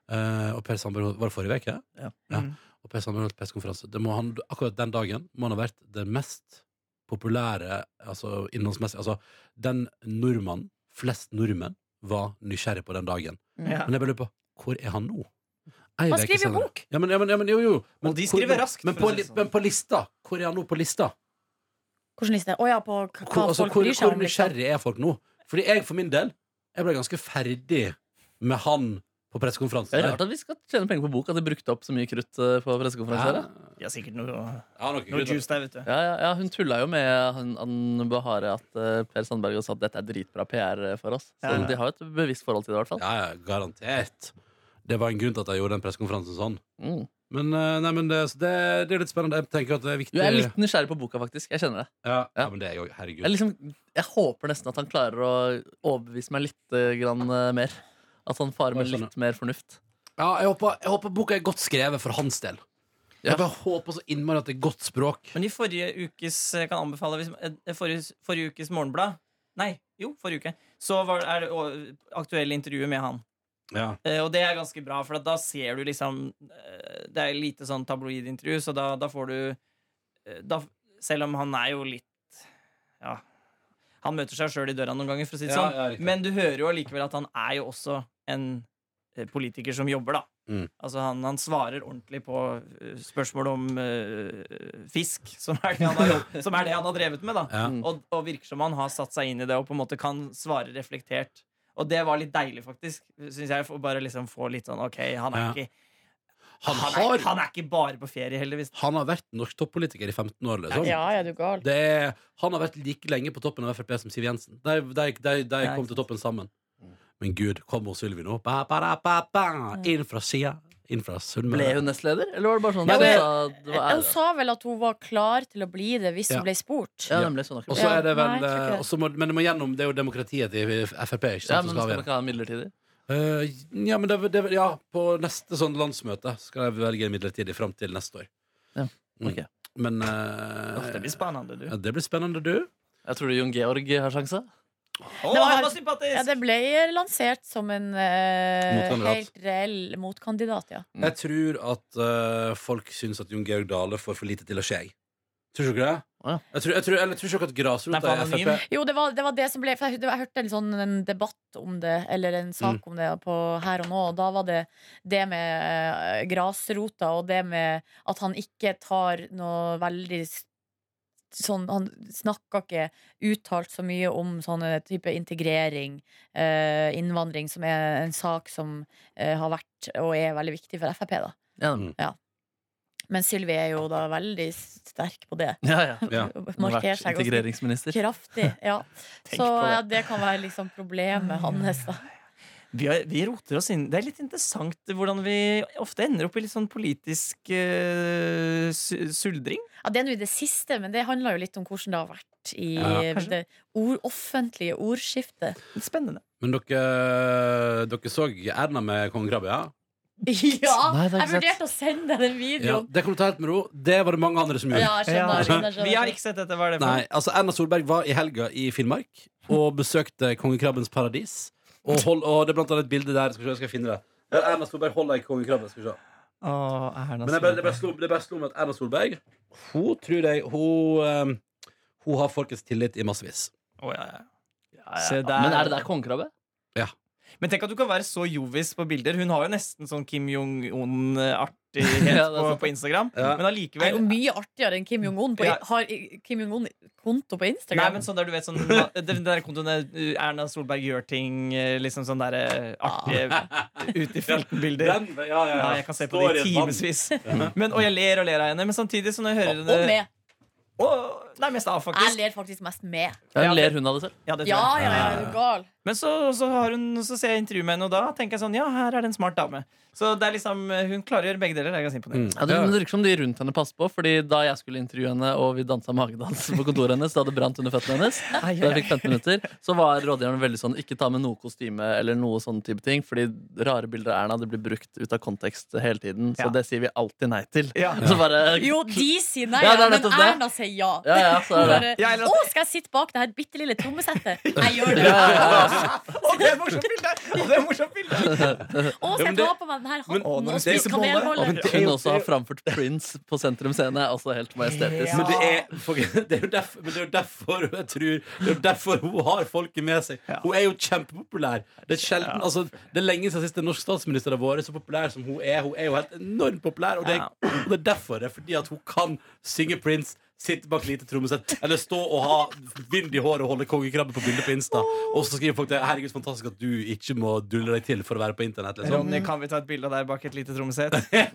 B: eh, og Per Sandberg Var det forrige uke?
E: Ja.
C: Mm.
B: Og Per Sandberg holdt pressekonferanse. Det må han- Akkurat den dagen må han ha vært det mest populære altså innholdsmessig Altså, den nordmannen, flest nordmenn, var nysgjerrig på den dagen.
C: Ja.
B: Men jeg bare lurer på hvor er han nå? Ei
F: Han
B: veke
F: skriver
B: senere.
F: bok.
B: Ja, men, ja, men, ja, men jo, jo. Men,
C: Og de skriver
B: hvor,
C: raskt,
B: Men
C: for å
B: på,
C: si det
B: li-
C: sånn.
B: men på lista, hvor er han nå på lista?
F: Hvordan liste? Å ja, på k- hva
B: Hvor, altså,
F: folk
B: hvor,
F: bryr seg
B: hvor
F: om. Liksom.
B: nysgjerrig er folk nå? Fordi jeg for min del Jeg ble ganske ferdig med han på pressekonferansen.
E: Det er
B: der.
E: rart at vi skal tjene penger på bok, at de brukte opp så mye krutt eh, på
B: Ja,
E: pressekonferanser. da.
C: De har sikkert noe,
B: ja, nok
C: noe
B: grunn til-
C: juice der, vet du.
E: Ja, ja, ja, hun tulla jo med han, han Bahare at eh, Per Sandberg og sa at dette er dritbra PR for oss. Så
C: Ja, ja.
E: de har jo et bevisst forhold til det, i hvert fall.
B: Ja, ja, garantert. Det var en grunn til at jeg gjorde den pressekonferansen sånn.
E: Mm.
B: Men, eh, nei, men det, så det, det er litt spennende. Jeg tenker at det er viktig.
E: Jo, jeg er litt nysgjerrig på boka, faktisk. Jeg kjenner det.
B: ja, ja,
E: ja.
B: men det er jo Herregud.
E: Jeg, liksom, jeg håper nesten at han klarer å overbevise meg litt eh, grann, eh, mer. At han farer med
B: Jeg skjønner.
E: litt mer fornuft.
B: Ja, jeg, håper, jeg håper boka er godt skrevet for hans del.
E: Ja.
B: Jeg bare håper så innmari at det er godt språk.
C: Men i forrige ukes jeg kan anbefale hvis, eh, forrige, forrige ukes Morgenblad Nei, jo, forrige uke. Så var, er det å- aktuelle intervjuet med han.
B: Ja.
C: Eh, og det er ganske bra, for at da ser du liksom eh, Det er lite sånn tabloidintervju, så da, da får du eh, da, Selv om han er jo litt Ja. Han møter seg sjøl i døra noen ganger, for å si det
B: Ja,
C: sånn.
B: ja, riktig.
C: Men du hører jo allikevel at han er jo også en eh, politiker som jobber, da.
B: Mm.
C: Altså han, han svarer ordentlig på eh, spørsmål om eh, fisk, som er, det han har, jobb- som er det han har drevet med. da
B: Ja.
C: og, og virker som han har satt seg inn i det og på en måte kan svare reflektert. Og det var litt deilig, faktisk. Synes jeg for å Bare liksom få litt sånn OK, han er,
B: Ja.
C: ikke,
B: Han,
C: han,
B: har,
C: er, han er ikke bare på ferie, heldigvis.
B: han har vært norsk toppolitiker i 15 år, liksom.
F: Ja, er du gal?
B: Det er, han har vært like lenge på toppen av Frp som Siv Jensen. De, de, de, de
C: Ja,
B: kom
C: ikke
B: til toppen sammen. Men gud, kommer Sylvi nå? Ba, ba, da, ba, ba. Inn fra sida, inn fra
E: Ble
B: Sunnmøre.
E: hun nestleder, eller var det bare sånn
F: Ja,
E: at
F: men-
E: hun sa det var
F: Hun
E: ære?
F: sa vel at hun var klar til å bli det hvis
B: Ja.
F: hun ble spurt.
E: Ja, nemlig sånn
B: Og
E: akkurat.
B: så er det
F: Ja, nei,
B: vel
F: jeg tror ikke
B: eh,
F: det.
B: og så må, Men det må gjennom, det er jo demokratiet til Frp, ikke sant?
E: Ja,
B: som skal
E: men skal man
B: avgjøre.
E: ikke ha midlertidig?
B: Eh, ja, men det, det, ja, på neste sånn landsmøte skal jeg velge en midlertidig fram til neste år.
E: Ja,
B: Mm.
E: ok.
B: Men
C: Uff,
B: eh,
C: Det blir spennende, du.
B: ja, det blir spennende, du.
E: Jeg tror du Jon Georg har sjanse.
C: Å,
F: var-
C: han var sympatisk!
F: Ja, det ble lansert som en eh,
B: Motkandidat.
F: helt reell motkandidat, ja.
E: Mm.
B: Jeg tror at eh, folk syns at Jon Georg Dale får for lite til å skje. Tror du ikke det?
E: Å, ja.
B: Jeg tror, jeg tror, eller, tror ikke at
C: Det
B: grasrota i
C: er for anonym.
B: Frp
F: Jo, det var det, var det som ble for jeg, det var- jeg hørte en sånn en debatt om det, eller en sak
E: Mm.
F: om det på Her og nå, og da var det det med eh, grasrota og det med at han ikke tar noe veldig s- Sånn, han snakka ikke uttalt så mye om sånne type integrering, eh, innvandring, som er en sak som eh, har vært og er veldig viktig for Frp. da
E: Ja,
B: Mm.
F: Men Sylvi er jo da veldig sterk på det.
E: ja, ja.
B: Ja.
E: Hun har
F: Markerer
E: vært
F: seg ganske
E: integreringsminister.
F: kraftig. Ja.
C: Tenk
F: Så
C: på det.
F: ja, det kan være liksom problemet hans. da.
C: Vi, har, vi roter oss inn. Det er litt interessant hvordan vi ofte ender opp i litt sånn politisk eh, su- suldring.
F: Ja, det er nå i det siste, men det handler jo litt om hvordan det har vært i
B: Ja,
C: kanskje.
F: det ord, offentlige ordskiftet.
C: Litt spennende.
B: Men dere, dere så Erna med kongekrabbe, ja?
F: Ja!
E: Nei, det er
F: Jeg
E: ikke
F: vurderte å sende deg den
B: ja?
F: videoen.
B: Det kan du ta helt med ro. Det var det mange andre som gjorde.
F: Ja, jeg skjønner. jeg skjønner, jeg
C: Vi har
F: skjønner.
C: ikke sett dette. Hva er det for
B: Nei, altså Erna Solberg var i helga i Finnmark og besøkte kongekrabbens paradis. Og, hold, og det er blant annet et bilde der. Skal vi se, jeg skal finne det. Der Erna Solberg holder i kongekrabben. Skal vi se.
C: Å, Erna
B: Men det bare- det bare
C: Solberg.
B: slo- det bare slo meg at Erna Solberg Hun tror jeg Hun, eh, hun har folkets tillit i massevis.
C: Å, ja, ja.
E: Ja, ja.
C: Se der.
E: Men er det der kongekrabbe?
C: Men tenk at du kan være så jovis på bilder. Hun har jo nesten sånn Kim Jong-un-artighet
E: Ja, det er
C: på,
E: sant.
C: på Instagram.
B: Ja.
C: Men
F: Det er jo
C: allikevel
F: mye artigere enn Kim Jong-un. på-
C: Ja.
F: Har Kim Jong-un konto på
C: Nei,
F: Instagram?
C: men sånn der du vet sånn Den den der kontoen der, uh, Erna Solberg gjør ting eh, Liksom sånn der eh, artige Ut i filtenbilder
B: Ah. Den, ja, ja, ja.
C: Ja, jeg kan se på
B: Står
C: det i
B: et vann.
C: timevis Men, Og jeg ler og ler av henne Men samtidig så når jeg hører
F: Og
C: henne
F: med.
C: Å, Nei, mest av
F: Jeg
C: faktisk
F: ler faktisk mest med.
E: Eller ler hun av det selv?
C: ja, det tror jeg.
F: Ja, ja, ja, er du gal?
C: Men så, så, har hun, så ser jeg intervju med henne Og da tenker jeg sånn, ja, her er det en smart dame Så det er liksom, eh, hun klarer å gjøre begge deler Det er ganske imponerende
B: Mm.
E: Ja, det, det virker som de rundt henne passer på, Fordi da jeg skulle intervjue henne, og vi dansa magedans på kontoret hennes, da det brant under føttene hennes,
C: Ai, ai,
E: da jeg fikk 15 minutter, så var rådgiveren veldig sånn ikke ta med noe kostyme eller noe sånne type ting, fordi rare bilder av Erna det blir brukt ut av kontekst hele tiden, så
C: Ja.
E: det sier vi alltid nei til.
C: Ja.
E: Så bare
F: Jo, de sier nei,
E: Ja, det er
F: men
E: nettopp det.
F: Erna sier ja.
E: Ja, ja, så er det.
F: Bare,
C: Ja, eller at-
F: Å, skal jeg sitte bak det her bitte lille trommesettet? Jeg gjør det.
E: Ja, ja, ja.
C: Å, det er et morsomt bilde Å, det er et morsomt bilde
F: Å, skal jeg ta på meg denne
B: Men-
F: hatten
B: Å, når du
F: og spise
B: spiser boller-
E: At
F: kanelboller?
E: hun også har framført Prince på Sentrum Scene, er også helt majestetisk.
B: Men det er, for- det er jo derfor, men det er jo derfor jeg tror, Det er jo derfor hun har folket med seg. Hun er jo kjempepopulær. Det er, sjelden, altså, det er lenge siden sist en norsk statsminister har vært så populær som hun er. Hun er jo helt enormt populær, og det er, og det er derfor. Det er fordi at hun kan synge Prince, sitte bak lite trommesett, eller stå og ha vind i håret og holde kongekrabbe på bildet på Insta. Og så skriver folk det. Herregud, så fantastisk at du ikke må dulle deg til for å være på internett. Liksom.
C: Ronny, kan vi ta et bilde av deg bak et lite trommesett?
B: Ja.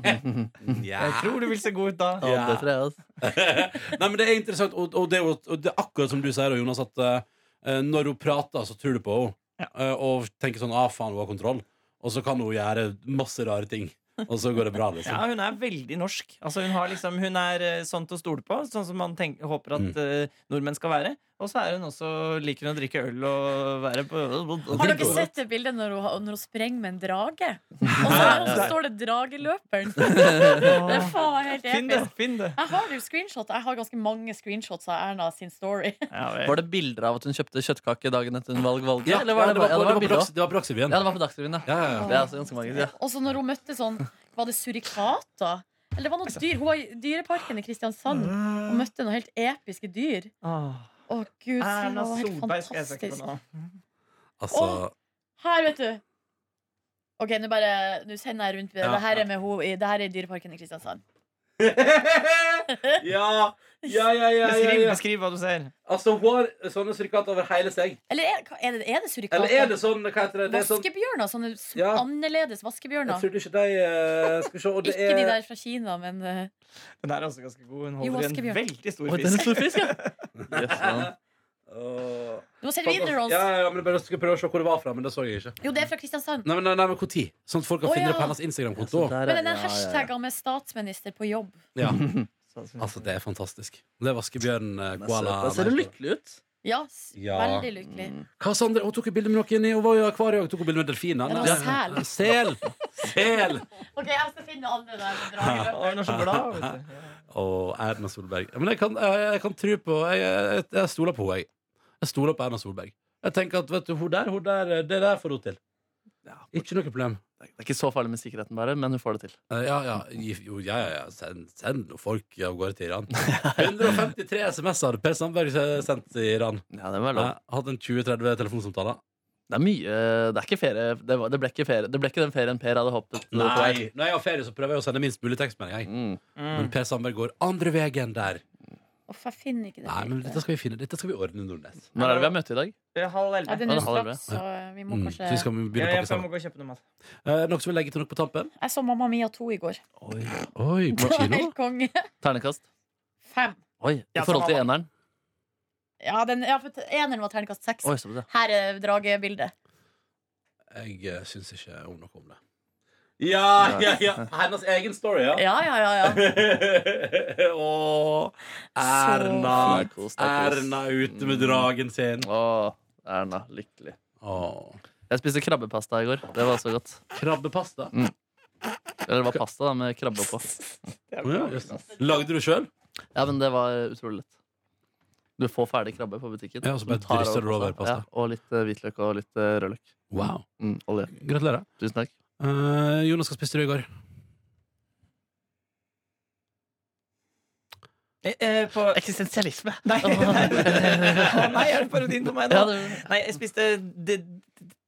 C: Jeg tror du vil se god ut da.
E: Ja, det tror jeg altså. også.
B: Nei, men Det er interessant, og, og, det, er jo- og det er akkurat som du sier, da, Jonas, at eh, når hun prater, så tror du på henne. Eh, og tenker sånn ah, faen, hun har kontroll. Og så kan hun gjøre masse rare ting. og så går det bra, liksom.
C: Ja, hun er veldig norsk. Altså, hun, har liksom, hun er eh, sånn til å stole på, sånn som man tenk- håper at eh, nordmenn skal være. Og så er hun også, liker hun å drikke øl og være på
F: Har
B: Det
F: dere
B: går.
F: sett det bildet når hun, når hun sprenger med en drage? Og så, og så står det 'Drageløperen'. Det er faen helt
C: Finn det!
F: episk.
C: Finn det.
F: Jeg har jo screenshot Jeg har ganske mange screenshots av Erna sin story.
C: Ja, vel.
E: Var det bilder av at hun kjøpte kjøttkake dagen etter hun valg valget?
B: Ja,
E: eller var
B: ja,
E: det, bare- ja, det var
B: på
E: bilder
B: Dags-
E: også.
B: det var på Dagsrevyen.
E: Ja, det var på Dagsrevyen, ja.
B: Ja, ja, ja.
E: Det er altså ganske magisk. Ja.
F: Og så når hun møtte sånn Var det surikater? Eller det var noe dyr Hun var i dyreparken i Kristiansand og møtte noen helt episke dyr.
C: Åh.
F: Å gud, så hun
C: Erna
F: var helt
C: Solberg skal jeg søke på
F: fantastisk.
C: nå.
B: Altså,
F: Her, vet du. OK, nå bare Nå sender jeg rundt.
B: Ja,
F: det her er med hun i, det her er i dyreparken i Kristiansand.
B: ja, ja, ja, ja, ja,
C: Beskriv,
B: ja.
C: beskriv hva du ser.
B: Altså, hun har sånne surikater over hele seg.
F: Eller er, hva- er det, er det surikater?
B: Eller er det sånn Hva heter det? det er sånn,
F: Vaskebjørner? Sånne s-
B: Ja.
F: annerledes
B: jeg
F: vaskebjørner?
B: trodde ikke de eh, Skal vi se. Og det
F: Ikke de
B: er
F: der fra Kina, men eh,
C: Den er også ganske god. Hun
F: Jo,
C: holder i en
F: vaskebjørn.
C: veldig stor
E: Oi, den er
C: fisk.
E: stor fisk, ja. Yes, man.
B: Åh.
F: Du må sende videre,
B: Ja,
F: Rons.
B: ja, men jeg bare skulle prøve å se hvor det var fra, men det så jeg ikke.
F: Jo, det er fra Kristiansand.
B: Nei, men, nei, nei, men hvor tid? Sånn at folk kan
F: Å,
B: finne det
F: ja.
B: på hennes Instagram-konto.
E: Så der er-
F: Men den
E: ja, ja, ja.
F: hashtaggen med 'statsminister på jobb'
B: Ja,
E: Sånn
C: Statsminister.
B: altså, det er fantastisk. Det er vaskebjørn, eh,
E: Den er søt.
B: koala
E: Da ser hun lykkelig ut.
F: Ja, s-
B: Ja. Mm.
F: veldig lykkelig.
B: Hva sa Andre? Hun tok jo bilde med noen i Hun var jo i akvariet og tok jo bilde med delfiner.
F: Det var
B: Nei, Sel! Sel!
F: Ok, jeg skal finne andre der.
C: Å, Hun er så glad. Vet du.
B: Og Erna Solberg. Men jeg kan, jeg, jeg kan tro på Jeg, jeg, jeg stoler på henne, jeg. Jeg stoler på Erna Solberg. Jeg tenker at vet du, hun der, hun der, det der får hun til.
E: Ja.
B: Ikke noe problem.
E: Det er ikke så farlig med sikkerheten, bare, men hun får det til.
B: Eh, Ja, ja, gi- jo, ja, ja, ja. Send, send noen folk av gårde til Iran. 153 SMS har Per Sandberg se- sendt til Iran.
E: Ja, Det var lov.
B: Jeg hadde en 20-30 telefonsamtaler.
E: Det er mye Det, er ikke ferie, det, var, det, ble, ikke ferie, det ble ikke den ferien Per hadde håpet på.
B: Nei, Når jeg har ferie, så prøver jeg å sende minst mulig tekstmelding. jeg.
E: Mm.
B: Men Per Sandberg går andre veien der.
F: Uff, jeg finner ikke det.
B: Nei, men dette skal vi finne. Dette skal vi ordne, Nordnes.
E: Når er det vi har møte i dag?
C: Eh, Halv
F: ja,
C: elleve.
F: det er nå
E: Ja, det holder
F: straks, så eh, vi
B: Mm.
F: må
B: Så vi
F: kanskje
B: skal
C: Ja,
B: begynne å
C: jeg
B: pakke sammen.
C: må gå og kjøpe noe mat.
B: Eh, Noe som vil legge til noe på tampen?
F: Jeg så Mamma Mia 2 i går.
B: Oi, Oi
F: Det
B: på
F: var
B: kino?
F: helt konge.
E: Ternekast.
F: Fem.
E: Oi, I
C: Ja,
E: forhold til
C: som
E: eneren.
F: Ja, den, ja, for eneren var terningkast seks.
E: Oi, så på det.
F: Her er dragebildet.
B: Jeg eh, syns ikke om noe om det. Ja, ja, ja. Hennes egen story,
F: Ja, ja, ja. ja.
B: Å,
E: Nei,
B: Erna.
E: kos deg, kos.
B: Erna ute med dragen sin.
E: Å, Erna. Lykkelig.
B: Å,
E: Jeg spiste krabbepasta i går. Det var så godt.
B: Krabbepasta.
E: Eller det var pasta da, med krabbe på.
B: Å ja, just det. Lagde du sjøl?
E: Ja, men det var utrolig lett. Du får ferdig krabbe på butikken.
B: Ja, og så bare
E: Du tar
B: drysser du over pasta.
E: Ja, og litt eh, hvitløk og litt eh, rødløk.
B: Wow.
E: Mm, olje.
B: Gratulerer.
E: Tusen takk.
B: Eh, Jonas, hva spiste du i går?
C: Eh, eh, på
E: Eksistensialisme!
C: Nei, Å, nei, er det parodien på meg nå?
E: Ja, det-
C: Nei, jeg spiste de,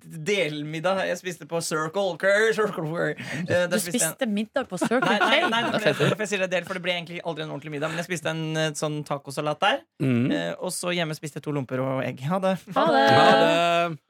C: delmiddag. Jeg spiste på Circle Cur. Circle Cur. Eh, der
F: Du
C: spiste jeg en-
F: spiste middag på Circle
C: Nei, nei,
F: K.
C: nei det, ble, derfor jeg sier det, del, for det ble egentlig aldri en ordentlig middag. Men jeg spiste en eh, sånn tacosalat der.
B: Mm.
C: eh, Og så hjemme spiste jeg to lomper og egg. Ha det.
F: Ha det!
B: Ha det.